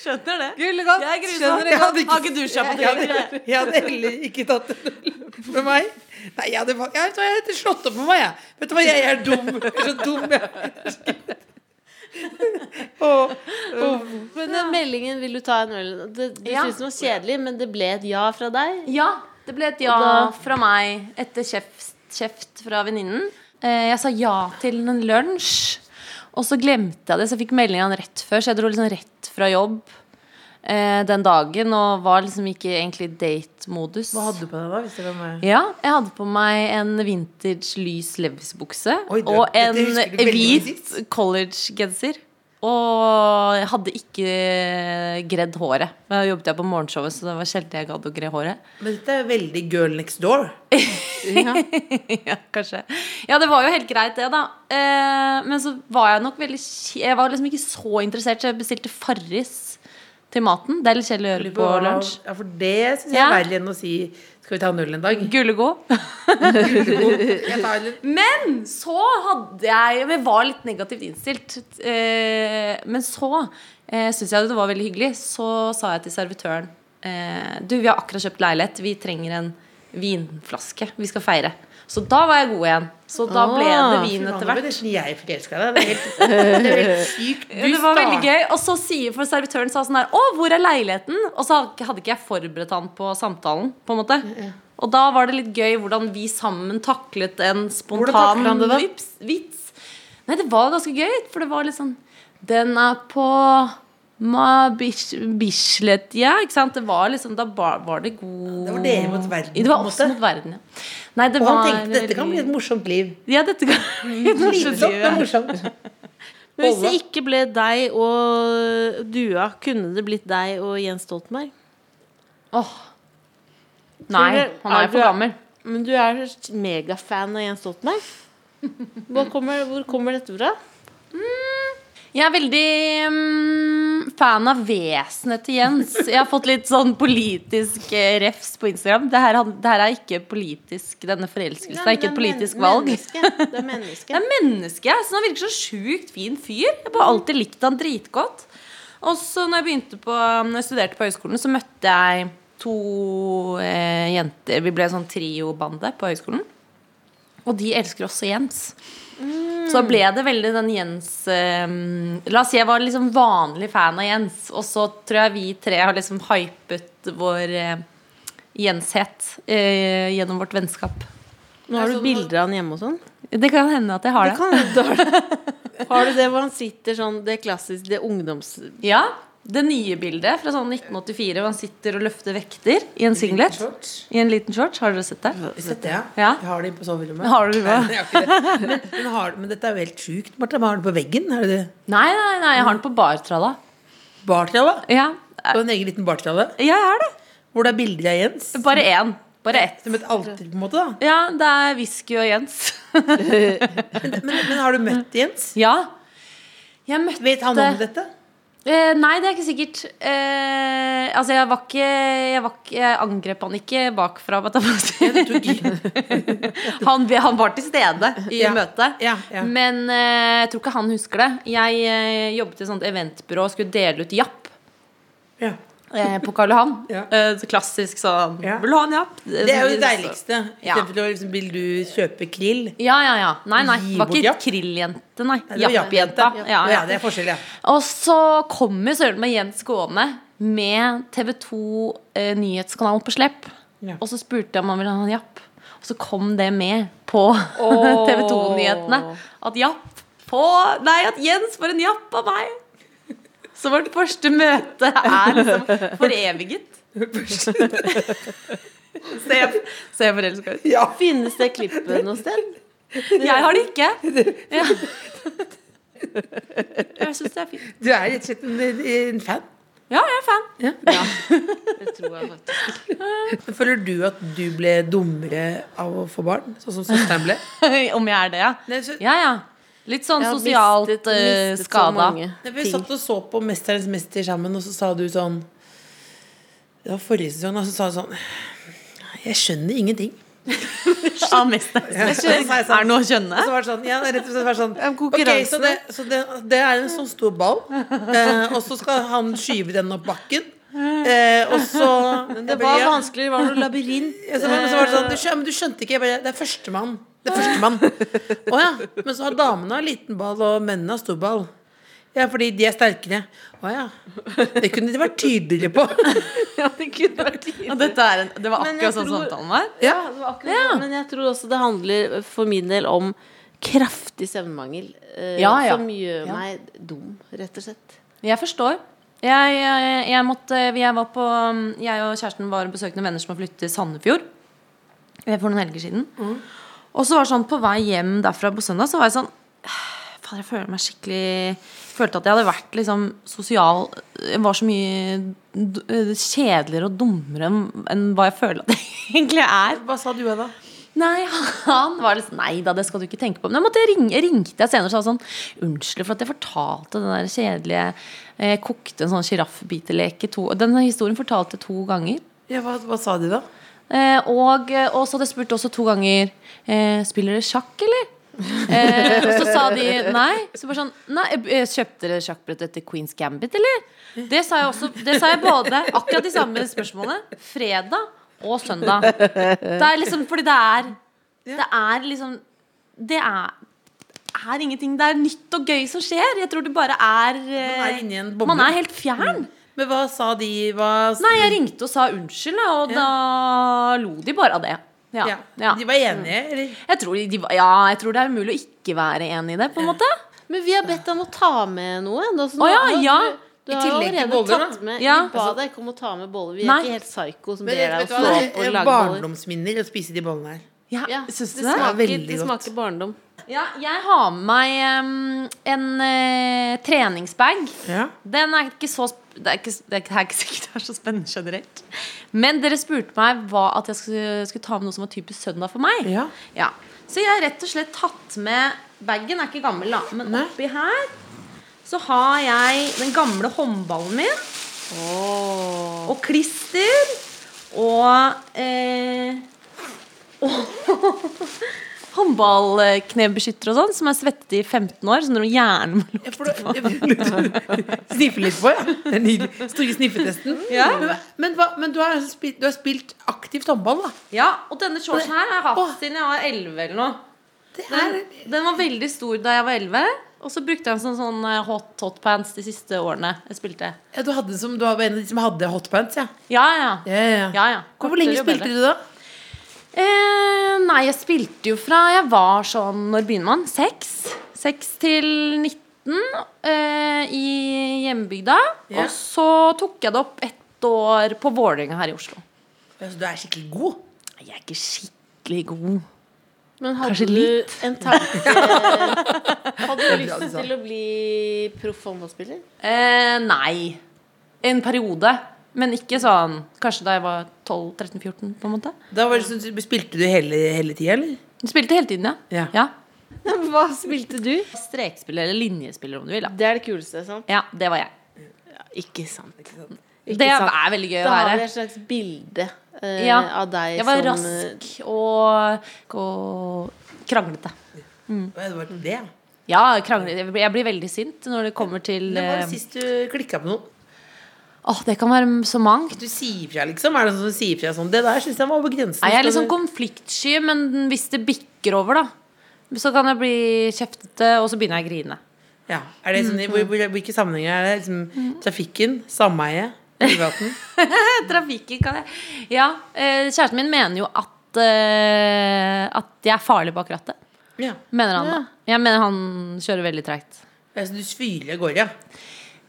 C: Skjønner det.
F: Gullegodt.
C: Jeg er grusom.
F: Jeg hadde ikke,
C: Har ikke du kjapt
F: jeg hadde, jeg hadde heller ikke tatt en øl med meg. Nei, jeg hadde, fa- jeg, vet du hva, jeg hadde slått opp med meg, jeg. Vet du hva, jeg er dum. Jeg er så dum, jeg. Åh, åh.
C: Men den meldingen 'Vil du ta en øl?' Det, du
D: Ja.
C: syntes den var kjedelig, men det ble et ja fra deg.
D: ja, det ble et ja
C: Og da-
D: fra meg etter kjeft, kjeft fra venninnen. Eh, Jeg sa ja til en lunsj, og så glemte jeg det, så jeg fikk meldingen rett før, så jeg dro liksom rett fra jobb. eh, Den dagen, og var liksom ikke egentlig i date-modus.
F: Hva hadde du på deg da? Hvis det var meg?
D: Ja, jeg hadde på meg en vintage lys levisbukse
F: Oi, du,
D: og
F: dette
D: en
F: husker du veldig
D: hvit
F: godt.
D: collegegenser. Og jeg hadde ikke gredd håret. Da jobbet jeg på morgenshowet, så det var sjelden jeg gadd å gre håret.
F: Men dette er veldig girl next door.
D: ja, kanskje. Ja, det var jo helt greit, det, da. Eh, men så var jeg nok veldig kj- Jeg var liksom ikke så interessert, så jeg bestilte Farris til maten. Det er litt kjedelig å gjøre på lunsj.
F: Ja, for det syns jeg
D: Ja.
F: er verre enn å si skal vi ta en øl en dag?
D: Gullegod.
F: Jeg tar en
D: Men så hadde jeg Jeg var litt negativt innstilt. Eh, men så eh, syntes jeg det var veldig hyggelig. Så sa jeg til servitøren eh, Du, vi har akkurat kjøpt leilighet. Vi trenger en vinflaske. Vi skal feire. Så da var jeg god igjen. Så da ble det
C: Ah,
D: vin etter
F: Etter
D: hvert.
F: hvert. Det er sånn jeg forelska deg. Det er helt, det er helt sykt. Du
D: det var veldig
F: starter-
D: gøy. Og så sier for servitøren sa sånn her Å, hvor er leiligheten? Og så hadde ikke jeg forberedt han på samtalen, på en måte. Og da var det litt gøy hvordan vi sammen taklet en
F: taklet
D: spontan
F: han det da?
D: vips, vits. Nei, det var ganske gøy, for det var litt sånn Den er på Ma Bis- Bislett, ja. Ikke sant? Det var liksom, da var, var det god
F: Det var dere mot verden,
D: Det
F: på
D: var
F: en
D: oss
F: måte.
D: mot verden, ja. Nei, det
F: Og
D: var
F: han tenkte dette kan bli et morsomt liv.
D: Ja, dette kan
F: Slitsomt, men morsomt.
C: Men hvis det ikke ble deg og Dua, kunne det blitt deg og Jens Stoltenberg?
D: Åh. Nei, han er jo for gammel.
C: Men du er megafan av Jens Stoltenberg? Hvor kommer, hvor kommer dette fra?
D: Jeg er veldig mm, fan av vesenet til Jens. Jeg har fått litt sånn politisk eh, refs på Instagram. Det her, han- det her er ikke politisk, denne forelskelsen. Det er ikke et politisk valg.
C: Menneske. Det er
D: Det
C: menneske.
D: er menneske. Så han virker så sjukt fin fyr. Jeg har bare alltid likt han dritgodt. Og så når jeg begynte på Når jeg studerte på høyskolen, så møtte jeg to eh, jenter. Vi ble en sånn triobande på høyskolen. Og de elsker også Jens. Så da ble det veldig den Jens eh, La oss si jeg var liksom vanlig fan av Jens, og så tror jeg vi tre har liksom hypet vår eh, Jenshet eh, gjennom vårt vennskap.
C: Nå har du bilder av han hjemme og sånn.
D: Det kan hende at jeg har det.
C: Har du det hvor han sitter sånn, det klassiske, det ungdoms...
D: Ja, det nye bildet fra sånn 1984 hvor han sitter og løfter vekter i en singlet.
F: Shorts.
D: I en liten shorts. Har dere sett det?
F: Sett det, ja.
D: Ja.
F: Jeg har det inne på soverommet.
D: Har du det?
F: Nei, jeg har ikke det. Men, men, har, men dette er jo helt sjukt, Martha. Har du det på veggen? Har du det
D: Nei, nei, nei, jeg har den på bartralla.
F: bartralle?
D: Ja,
F: På en egen liten bartralle?
D: jeg har det.
F: Hvor det er bilder av Jens?
D: Bare én. Bare ett.
F: Som et alter, på en måte. da
D: Ja, det er whisky og Jens.
F: Men, men har du møtt Jens?
D: Ja. Jeg møtte
F: Vet han om dette?
D: Eh, nei, det er ikke sikkert. Eh, altså, jeg var ikke Jeg, var ikke, jeg angrep han ikke bakfra. vet du. han, han var til stede i
F: Ja.
D: møtet.
F: Ja, ja.
D: Men eh, jeg tror ikke han husker det. Jeg eh, jobbet i et sånt eventbyrå og skulle dele ut japp
F: Ja.
D: eh, på Karl Johan.
F: Ja.
D: Eh, så klassisk sånn
F: Ja.
D: Vil du ha en japp?
F: Det er sånn jo det deiligste.
D: Ja.
F: Istedenfor å liksom Vil du kjøpe krill?
D: Ja, ja, ja. Nei, nei.
F: Gi
D: Det var
F: bort
D: ikke
F: japp.
D: krilljente, nei.
F: Nei, det var
D: Jappjenta.
F: jappjenta.
D: Ja, ja.
F: det er forskjell, ja.
D: Og så kommer søren meg Jens gående med TV 2 eh, nyhetskanalen på slepp.
F: Ja.
D: Og så spurte jeg om han ville ha en japp. Og så kom det med på TV 2-nyhetene. At japp på Nei, at Jens får en japp av meg! Så vårt første møte er liksom foreviget. Se se forelska ut.
C: Finnes det klippet noe sted?
D: Jeg har det ikke. Ja. Jeg syns det er fint.
F: Du er rett og slett en, en fan.
D: Ja, jeg er fan.
F: Føler du at du ble dummere av å få barn? Sånn som søsteren ble?
D: Om jeg er det, ja.
F: Nei, så,
D: Ja, ja. Litt sånn
C: Jeg har
D: sosialt
C: mistet-
D: eh,
C: mistet så
D: skada.
C: mange
F: Nei, vi
C: ting.
F: satt og så på 'Mesterens mester' sammen, og så sa du sånn Det var forrige sesong, og så sa du sånn Jeg skjønner ingenting.
D: Av mester. Er det noe å skjønne?
F: Og så var det sånn, ja, rett og slett var det
C: Ja,
F: sånn Ok,
C: konkurranse.
F: så det, så det, det er en sånn stor ball, eh, og så skal han skyve den opp bakken. Eh, og så
C: Det var vanskelig, det var noe labyrint.
F: Ja, så, men så var det
D: eh.
F: sånn, du, skjø- men du skjønte ikke, jeg bare, det er førstemann. Det er førstemann. Å ja. Men så har damene har liten ball, og mennene har stor ball. Ja, fordi de er sterkere. Å ja. Det kunne de vært tydeligere på.
D: Og dette er en, det var
C: Men
D: akkurat
C: jeg
D: sånn
C: tror-
D: samtalen var.
F: Ja.
D: Ja.
C: Men jeg tror også det handler for min del om kraftig søvnmangel. eh,
D: Ja, ja.
C: Som gjør
D: Ja.
C: meg dum, rett og slett.
D: Jeg forstår. Jeg, jeg, jeg, måtte, jeg, var på, mm, jeg og kjæresten var og besøkte noen venner som har flyttet til Sandefjord eh, for noen helger siden. Og så var det sånn på vei hjem derfra på søndag, så var jeg sånn Fader, jeg føler meg skikkelig Følte at jeg hadde vært liksom sosial Jeg var så mye d- eh, kjedeligere og dummere enn- enn hva jeg føler at jeg egentlig er.
F: Hva sa du da?
D: Nei, han var litt sånn, Nei da, det skal du ikke tenke på. Men jeg måtte jeg ringe, ringte jeg senere og sa sånn Unnskyld for at jeg fortalte den der kjedelige eh, Jeg kokte en sånn sjiraffbiteleke to Den historien fortalte jeg to ganger.
F: Ja, hva, hva sa de da?
D: Eh, og, og så hadde jeg spurt også to ganger eh, Spiller dere sjakk, eller? Eh, og så sa de nei. Så bare sånn Nei, eh, kjøpte dere sjakkbrettet til Queens Gambit, eller? Det sa jeg også. Det sa jeg både akkurat de samme spørsmålene fredag og søndag. Det er liksom fordi det er Det er liksom Det er er ingenting, Det er nytt og gøy som skjer. Jeg tror det bare er eh,
F: Man er inne i en boble.
D: Man er helt fjern.
F: Men hva sa de? Hva s-
D: Nei, jeg ringte og sa unnskyld, da, og da lo de bare av det. Ja,
F: ja.
D: ja.
F: De var enige, eller?
D: Jeg, tror de, var- ja, jeg tror det er umulig å ikke være enig i det, på en måte.
C: Men vi har bedt deg om å ta med noe. Da, så
D: Å ja,
C: nå-
D: ja.
C: Du, du
F: I
C: har
F: tillegg til
C: allerede
F: boller, da.
C: tatt med
D: Ja.
C: Vi ba deg ikke om å ta med boller. Vi er
D: Nei.
C: ikke helt psyko som
F: Men
C: ber deg å
F: vet du
C: stå
F: hva,
C: opp
F: det
C: og
F: er
C: lage boller.
F: barndomsminner å spise de bollene her.
D: Ja,
C: Ja,
D: syns du
C: det
D: det?
C: smaker,
F: veldig
C: det
F: godt.
C: smaker barndom.
D: Ja, jeg har med meg em, en eh, treningsbag.
F: Ja.
D: Den er ikke så sp- det er ikke, det er ikke- det er ikke sikkert det er så spennende generelt. Men dere spurte meg hva at jeg skulle, skulle ta med noe som var typisk søndag for meg.
F: Ja.
D: Ja. Så jeg har rett og slett tatt med Bagen er ikke gammel, da, men
F: Nei.
D: oppi her så har jeg den gamle håndballen min. Og klister. Og eh, og håndballknebeskytter og sånn, som er svettet i 15 år. Så når du gjerne må
F: Ja, for da- Sniffe litt på, ja. Det er nydelig. Store sniffetesten. Men, men, hva- men du, har spilt, du har spilt aktivt håndball, da?
D: Ja, og denne shortsen her har jeg hatt siden jeg var 11 eller noe. Den, den var veldig stor da jeg var 11, og så brukte jeg den som sånn eh, hot, hot pants de siste årene jeg spilte.
F: Ja, du, hadde som, du var en av de som hadde hotpants, ja.
D: Ja, ja.
F: Ja, ja, ja.
D: ja, ja.
F: Hvor hvor lenge
D: Kortere jo
F: spilte
D: bedre.
F: du da?
D: Eh, nei, jeg spilte jo fra jeg var sånn Når begynner man? Seks. Seks til 19 eh, i hjembygda.
F: Ja.
D: Og så tok jeg det opp ett år på Vålerenga her i Oslo.
F: Ja, så du er skikkelig god.
D: Jeg er ikke skikkelig god.
C: Men hadde
D: Kanskje litt.
C: du en tanke eh,
F: bra
C: Hadde du
F: du
C: lyst
F: sa.
C: til å bli proff håndballspiller?
D: Eh, nei. En periode. Men ikke sånn Kanskje da jeg var 12-13-14, på en måte.
F: Da var det, sånn- spilte du hele, hele tida, eller?
D: Du spilte hele tiden, ja.
F: Ja.
C: Hva spilte du?
D: Strekspiller eller linjespiller, om du vil. Da.
C: Det er det kuleste, sant?
D: Ja, det var jeg.
C: Ikke sant.
D: Det er veldig gøy å
C: Da har vi
D: være.
C: et slags bilde eh,
D: Ja.
C: av deg
D: Jeg var
C: som eh,
D: rask og, og kranglete.
F: Det var det.
D: Ja, kranglete. Jeg blir- Jeg blir veldig sint når det kommer til
F: Det var
D: eh,
F: det sist du klikka på noe.
D: Åh, det kan være så mangt.
F: Du sier fra, liksom? Er det sånn som sier fra sånn? Det der syns jeg var på grensen.
D: Nei, jeg er litt
F: Skal
D: sånn konfliktsky, men hvis det bikker over, da, så kan jeg bli kjeftete, og så begynner jeg å grine.
F: du- ja. er det sånn, i hvor, hvor, Hvilke sammenhenger er det? Liksom, trafikken? Sameie? Privaten?
D: Trafikken kan jeg Ja, eh, kjæresten min mener jo at eh, At jeg er farlig bak rattet.
F: Ja.
D: Mener han da. Jeg mener han kjører veldig tregt.
F: Altså, du sviler av gårde, ja.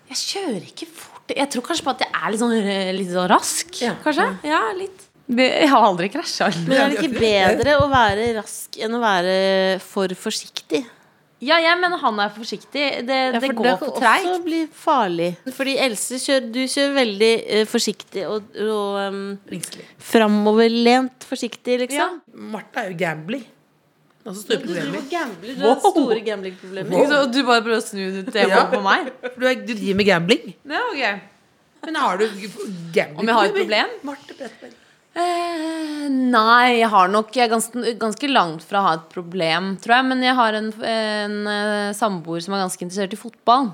D: Jeg kjører ikke fort. Jeg tror kanskje på at jeg er litt sånn, eh, litt sånn rask.
F: Ja.
D: Kanskje? Ja, litt. Jeg har aldri krasja.
C: Men er det ikke bedre å være rask enn å være for forsiktig?
D: Ja, jeg mener han er for forsiktig. Det,
C: Ja,
D: det
C: for
D: går
C: kan
D: for treigt.
C: også bli farlig. Fordi Else kjører, du kjører veldig eh, forsiktig og, og em,
F: Engstelig.
C: framoverlent forsiktig, liksom.
F: Martha er jo gambler. Og så store problemer.
C: gambler.
F: du har Wow. store
C: gamblingproblemer.
D: Ikke sant? Og du bare prøver å snu temaet
F: Ja.
D: på meg?
F: For du, er, du driver med gambling.
D: Ja, ok.
F: Men har du gambling?
D: Om jeg har et problem?
F: Marte Bredtberg.
D: Eh, nei, jeg har nok Jeg er ganske, ganske langt fra å ha et problem, tror jeg. Men jeg har en, en eh, samboer som er ganske interessert i fotball.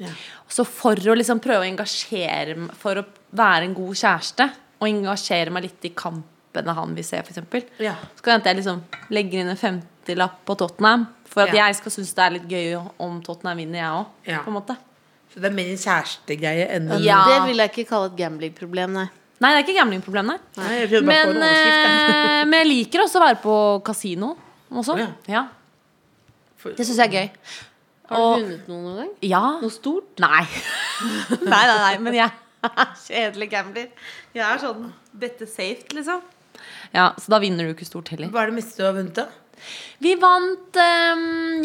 F: Ja.
D: Så for å liksom prøve å engasjere meg For å være en god kjæreste og engasjere meg litt i kampene han vil se, f.eks.
F: Ja.
D: Så kan det hende jeg liksom legger inn en 50-lapp på Tottenham. For at
F: Ja.
D: jeg skal synes det er litt gøy om Tottenham vinner, jeg òg.
F: Ja.
D: på en måte
F: Så det er mer en kjærestegreie enn en
D: Ja.
C: Det vil jeg ikke kalle et gamblingproblem, nei.
D: Nei, det er ikke gamblingproblem, nei.
F: Nei, jeg prøvde bare å få
D: Men,
F: en overskrift. jeg.
D: eh, men jeg liker også å være på kasino også.
F: Å, ja.
D: Ja.
F: For-
D: Det syns jeg er gøy.
C: Har du
D: Og-
C: vunnet noe noen gang?
D: Ja.
C: Noe stort?
D: Nei. nei, nei, nei. Men jeg er kjedelig gambler. Jeg er sånn Dette safe, liksom. Ja, Så da vinner du ikke stort heller.
F: Hva er det meste du har vunnet, da?
D: Vi vant eh,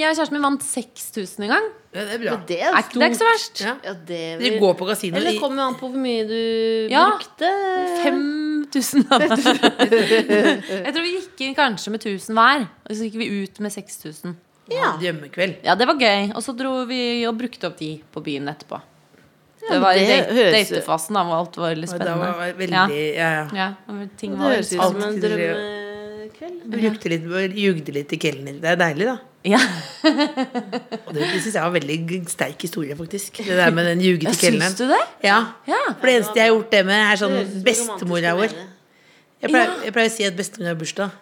D: Jeg og kjæresten min vant 6000 en gang.
F: Ja, det er bra.
C: Det
D: Er
C: er
D: ikke, det er ikke
C: stort.
D: så verst.
F: Ja.
C: Ja, det
F: Dere
C: vil...
F: går på kasino
C: Eller
F: i
C: det kommer an på hvor mye du
D: Ja.
C: brukte.
D: 5000 av det. Jeg tror vi gikk inn kanskje med 1000 hver. Og så gikk vi ut med 6000.
F: ja. drømmekveld.
D: Ja, det var gøy. Og så dro vi og brukte opp de på byen etterpå. det
C: men
D: var i
C: det
D: date-
C: høres-
D: datefasen, da, hvor alt var veldig
F: Og da
D: spennende.
F: var jeg veldig Ja, ja.
D: Ja, og ting
C: Det
D: var
C: høres ut som en
F: Alltid
C: drømmekveld.
F: Jeg brukte litt, jeg jugde litt i kvelden. Det er deilig, da.
D: ja.
F: Og det, det syns jeg var en veldig sterk historie, faktisk. Det der med den ljuge til
D: Syns
F: kelneren.
D: du det?
F: Ja.
D: Ja.
F: For det eneste jeg har gjort det med, er
C: Det
F: sånn
C: høres ut som
F: bestemora vår.
C: romantisk komedie.
F: Jeg pleier, jeg pleier å si at bestemor har bursdag.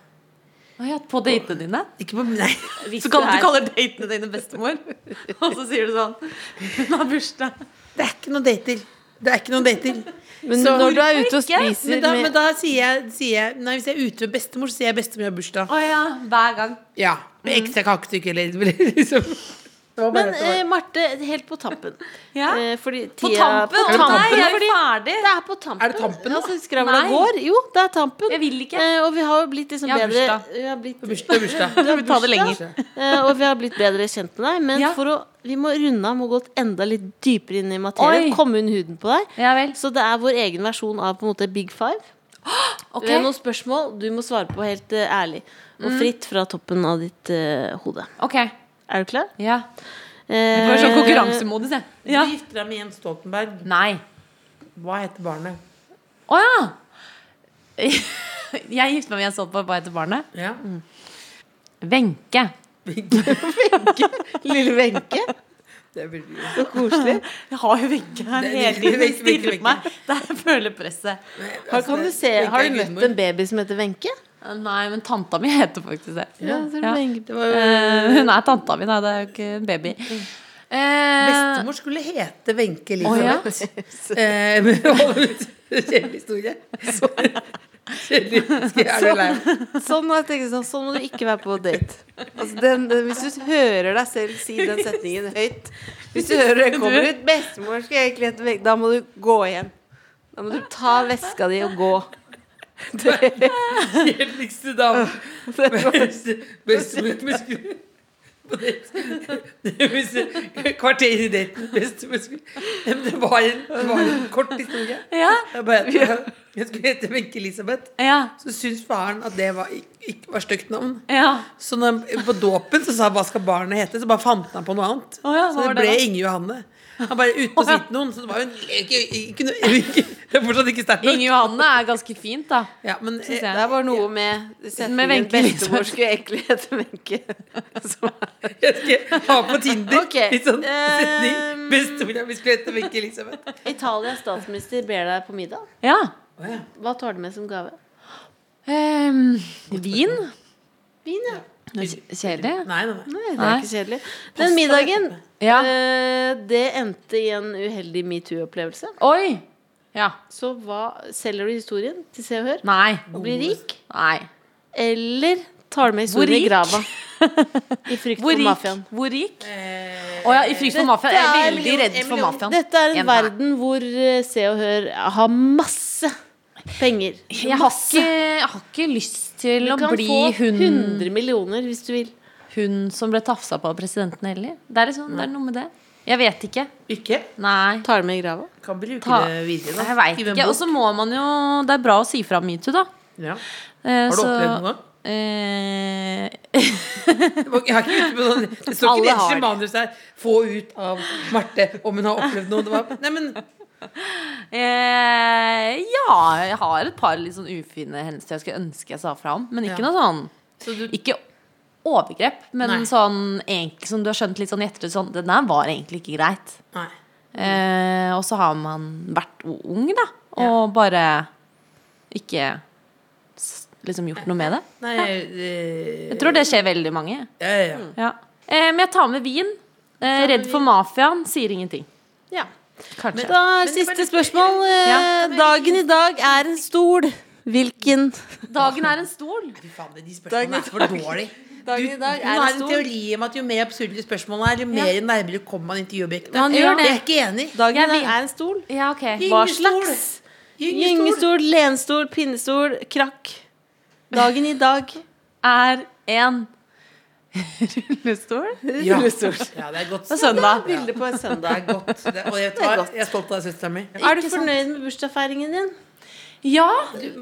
D: Å ja, på datene dine?
F: Ikke på Nei.
C: Hvis
D: Så kan
C: er-
D: du kaller datene dine bestemor? Og så sier du sånn Hun har bursdag.
F: Det er ikke noen dater. Det er ikke noen dater.
C: Men
F: Så-
C: når du er ute og
D: Hvorfor ikke?
C: spiser
F: Men da,
C: med-
F: men da sier, jeg, sier jeg Nei, hvis jeg er ute med bestemor, så sier jeg bestemor har bursdag.
D: Å ja, hver gang.
F: Ja, Med ekstra kakestykke eller eller liksom. Det var bare
C: Mm. Men
F: at det var-
C: eh, Marte, helt på tampen.
D: Ja.
C: Eh, fordi
D: På
C: tida-
D: tampen!
C: på
D: Å nei,
C: tampen,
D: jeg er
C: fordi
D: ferdig!
C: det er på tampen.
F: Er det tampen nå?
C: Altså, skravla
D: Nei.
C: går. Jo, det er tampen.
D: Jeg vil ikke.
C: Eh, og vi har jo blitt liksom
D: Jeg har
C: bedre
D: bursdag.
C: vi har blitt,
F: bursdag, bursdag.
C: du har
D: Ta det
C: bursdag, eh, Og vi har blitt bedre kjent med deg. Men
D: Ja.
C: for å, vi må runde av med å gå enda litt dypere inn i materien.
D: Oi.
C: Komme under huden på deg.
D: Ja vel.
C: Så det er vår egen versjon av på en måte Big Five.
D: Ok.
C: Det er noen spørsmål du må svare på helt eh, ærlig. Og fritt fra toppen av ditt eh, hode.
D: ok.
C: Er du klar?
D: Ja.
C: Eh,
D: Jeg var sånn konkurransemodus, jeg. Ja.
F: Du gifter deg med Jens Stoltenberg.
D: Nei.
F: Hva heter barnet?
D: Å ja! Jeg gifter meg med en sånn på hva heter barnet?
F: Ja.
C: Mm.
D: Wenche.
C: Lille Wenche.
F: Det er veldig
C: Så koselig.
D: Jeg har jo Wenche her
F: Det-
D: hele tiden.
F: Wenche,
D: Hun
F: Wenche,
D: stirrer på meg. Det er jeg føler presset.
C: Har,
D: Altså,
C: kan du se, har du møtt en baby som heter Wenche?
D: Nei, men tanta mi heter faktisk det.
C: så er det
D: Ja.
C: Wenche.
F: Det var jo
D: Eh, hun er tanta mi, da. Det er jo ikke en baby. Eh,
F: Bestemor skulle hete Wenche
D: Å, ja.
F: Elisabeth. Eh, men- Kjedelig historie. Så- Kjedelig. Skal jeg- Er du lei?
C: Sånn, må jeg tenke sånn, sånn må du ikke være på date. Altså, den, den, hvis du hører deg selv si den setningen høyt Hvis du hører det kommer ut 'Bestemor skal egentlig hete Wenche', da må du gå hjem. Da må du ta veska di og gå.
F: Kjedeligste dame. Bestemor Kvarter i daten. Bestemor skulle Ja, men Det var en, det var en kort historie.
D: ja,
F: Jeg, bare, jeg skulle hete Wenche Elisabeth.
D: ja,
F: Så syntes faren at det var, ikke- ikke var stygt navn.
D: ja.
F: Så når, på dåpen så sa han hva skal barnet hete, så bare fant han på noe annet.
D: Å ja,
F: så
D: hva var
F: det
D: det
F: ble
D: da?
F: Inge Johanne. Han bare uten å si til noen. Så det var jo en ikke, ikke, ikke, Det er fortsatt ikke sterkt
D: Inge
F: nok.
D: Johanne er ganske fint, da.
F: Ja, men eh,
D: jeg.
H: Det er bare noe med
D: Med
H: setningen
D: Wenche, liksom.
H: Bestemor skulle egentlig hete Wenche. Som er-
F: eh, jeg skal ha på Tinder
C: Ok,
F: litt sånn
C: eh,
D: ehm,
F: setning. Bestemora mi skulle hete Wenche Elisabeth.
C: Italias statsminister ber deg på middag.
D: Ja.
F: Å ja.
C: Hva tar du med som gave?
D: Ehm, vin?
C: Vin, ja.
D: Kjedelig?
F: Nei, nei, nei.
C: Nei, det er
D: Nei.
C: ikke kjedelig. Den middagen,
D: Ja.
C: eh, det endte i en uheldig metoo-opplevelse.
D: Oi! Ja.
C: Så hva selger du historien til Se og Hør?
D: Nei.
C: Og blir rik?
D: Nei.
C: Eller tar du med
D: Hvor
C: historien i
D: rik?
C: grava? I frykt
D: Hvor
C: for
D: rik?
C: mafiaen.
D: Hvor rik? Å ja, i frykt for mafiaen. Jeg Eh, er veldig redd for mafiaen.
C: Dette er en
D: Igjen her.
C: verden hvor eh, Se og Hør har masse penger.
D: Jeg har ikke, jeg har ikke lyst til
C: Du
D: å
C: kan
D: bli
C: få
D: hun,
C: 100 millioner hvis du vil.
D: hun som ble tafsa på av presidenten heller. Det er, liksom, det er noe med det. Jeg vet ikke.
F: Ikke?
D: Nei.
C: Tar du med i grava?
F: Kan bruke
D: Ta-
F: det videre, da.
D: Jeg vet
F: Skrive en
D: ikke.
F: bok.
D: altså, Og så må man jo Det er bra å si fra om metoo, da.
F: Ja. Har
D: Har
F: du opplevd noe?
D: Eh,
F: Jeg har ikke ute på sånn Det står
D: Alle
F: ikke
D: har
F: nederst i
D: det.
F: manus her 'Få ut av Marte om hun har opplevd noe'. Det var, nei, men
D: eh, ja, jeg har et par litt sånn ufine hendelser jeg skulle ønske jeg sa fra om. Men ikke
F: Ja.
D: noe sånn
F: så du,
D: Ikke overgrep, men
F: Nei.
D: sånn egentlig, som du har skjønt litt sånn i ettertid sånn, Det der var egentlig ikke greit.
F: Nei.
D: Eh, og så har man vært o- ung, da. Og bare ikke s- liksom gjort noe med det.
F: nei eh,
D: Jeg tror det skjer veldig mange.
F: ja, ja, ja.
D: Ja. Eh, men jeg tar med vin. Eh, redd for mafiaen sier ingenting.
C: Ja.
D: Kanskje.
C: Da er siste spørsmål. Eh,
D: Ja.
C: Dagen i dag er en stol. Hvilken?
D: Dagen er en stol.
F: Fy faen, de spørsmålene er for dårlige.
C: Dagen i dag
F: Nå er det en teori om at jo mer absurde spørsmålene er, jo mer nærmere kommer man intervjuobjektet.
D: Man
F: Jeg
D: gjør det.
F: er ikke enig.
C: Dagen i
D: Jeg
C: dag
D: vil-
C: er en stol.
D: Ja, ok.
C: Hva
F: Gyngestol.
C: slags?
F: Gyngestol.
C: Gyngestol, lenstol, pinnestol, krakk. Dagen i dag.
D: Er en rullestol?
F: Ja. ja, det er godt.
C: På søndag. Bilde på en
F: Det
C: søndag.
F: er godt. Det, og jeg, tar, jeg er stolt av søstera mi.
C: Er du fornøyd med bursdagsfeiringen din?
D: Ja.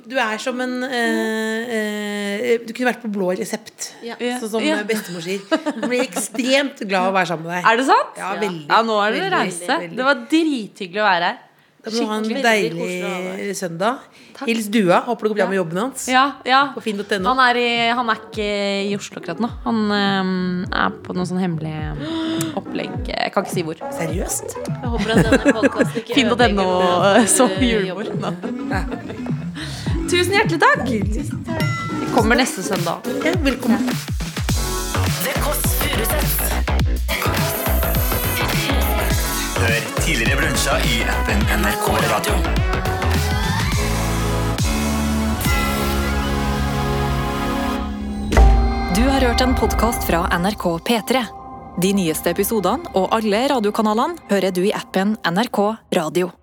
F: Du er som en eh, eh, Du kunne vært på blå resept,
C: Ja.
F: sånn som
D: Ja.
F: eh, bestemor sier. Du blir ekstremt glad av å være sammen med deg.
D: Er det sant?
F: Ja, veldig.
D: Ja, nå er det
F: Veldig,
D: reise.
F: veldig.
D: Det var drithyggelig å være her.
F: Da må du ha en
C: Skikkelig
F: deilig
C: koselig å ha
F: søndag. Hils Dua. Håper det går bra med jobben hans.
D: Ja, ja.
F: På finn.no.
D: Han er, i, han er ikke i Oslo akkurat nå. Han øhm, er på noe sånn hemmelig opplegg. Jeg kan ikke si hvor.
F: Seriøst?
C: Jeg håper at denne podcasten ikke
D: Finn.no
C: ødelegger
D: øh, som julebord. nå. Tusen hjertelig takk! Vi kommer neste søndag.
F: Ja, velkommen.
B: Det Kåss Furuseths.
E: Hør tidligere brunsja i appen NRK Radio.
A: Du har hørt en podkast fra NRK P3. De nyeste episodene og alle radiokanalene hører du i appen NRK Radio.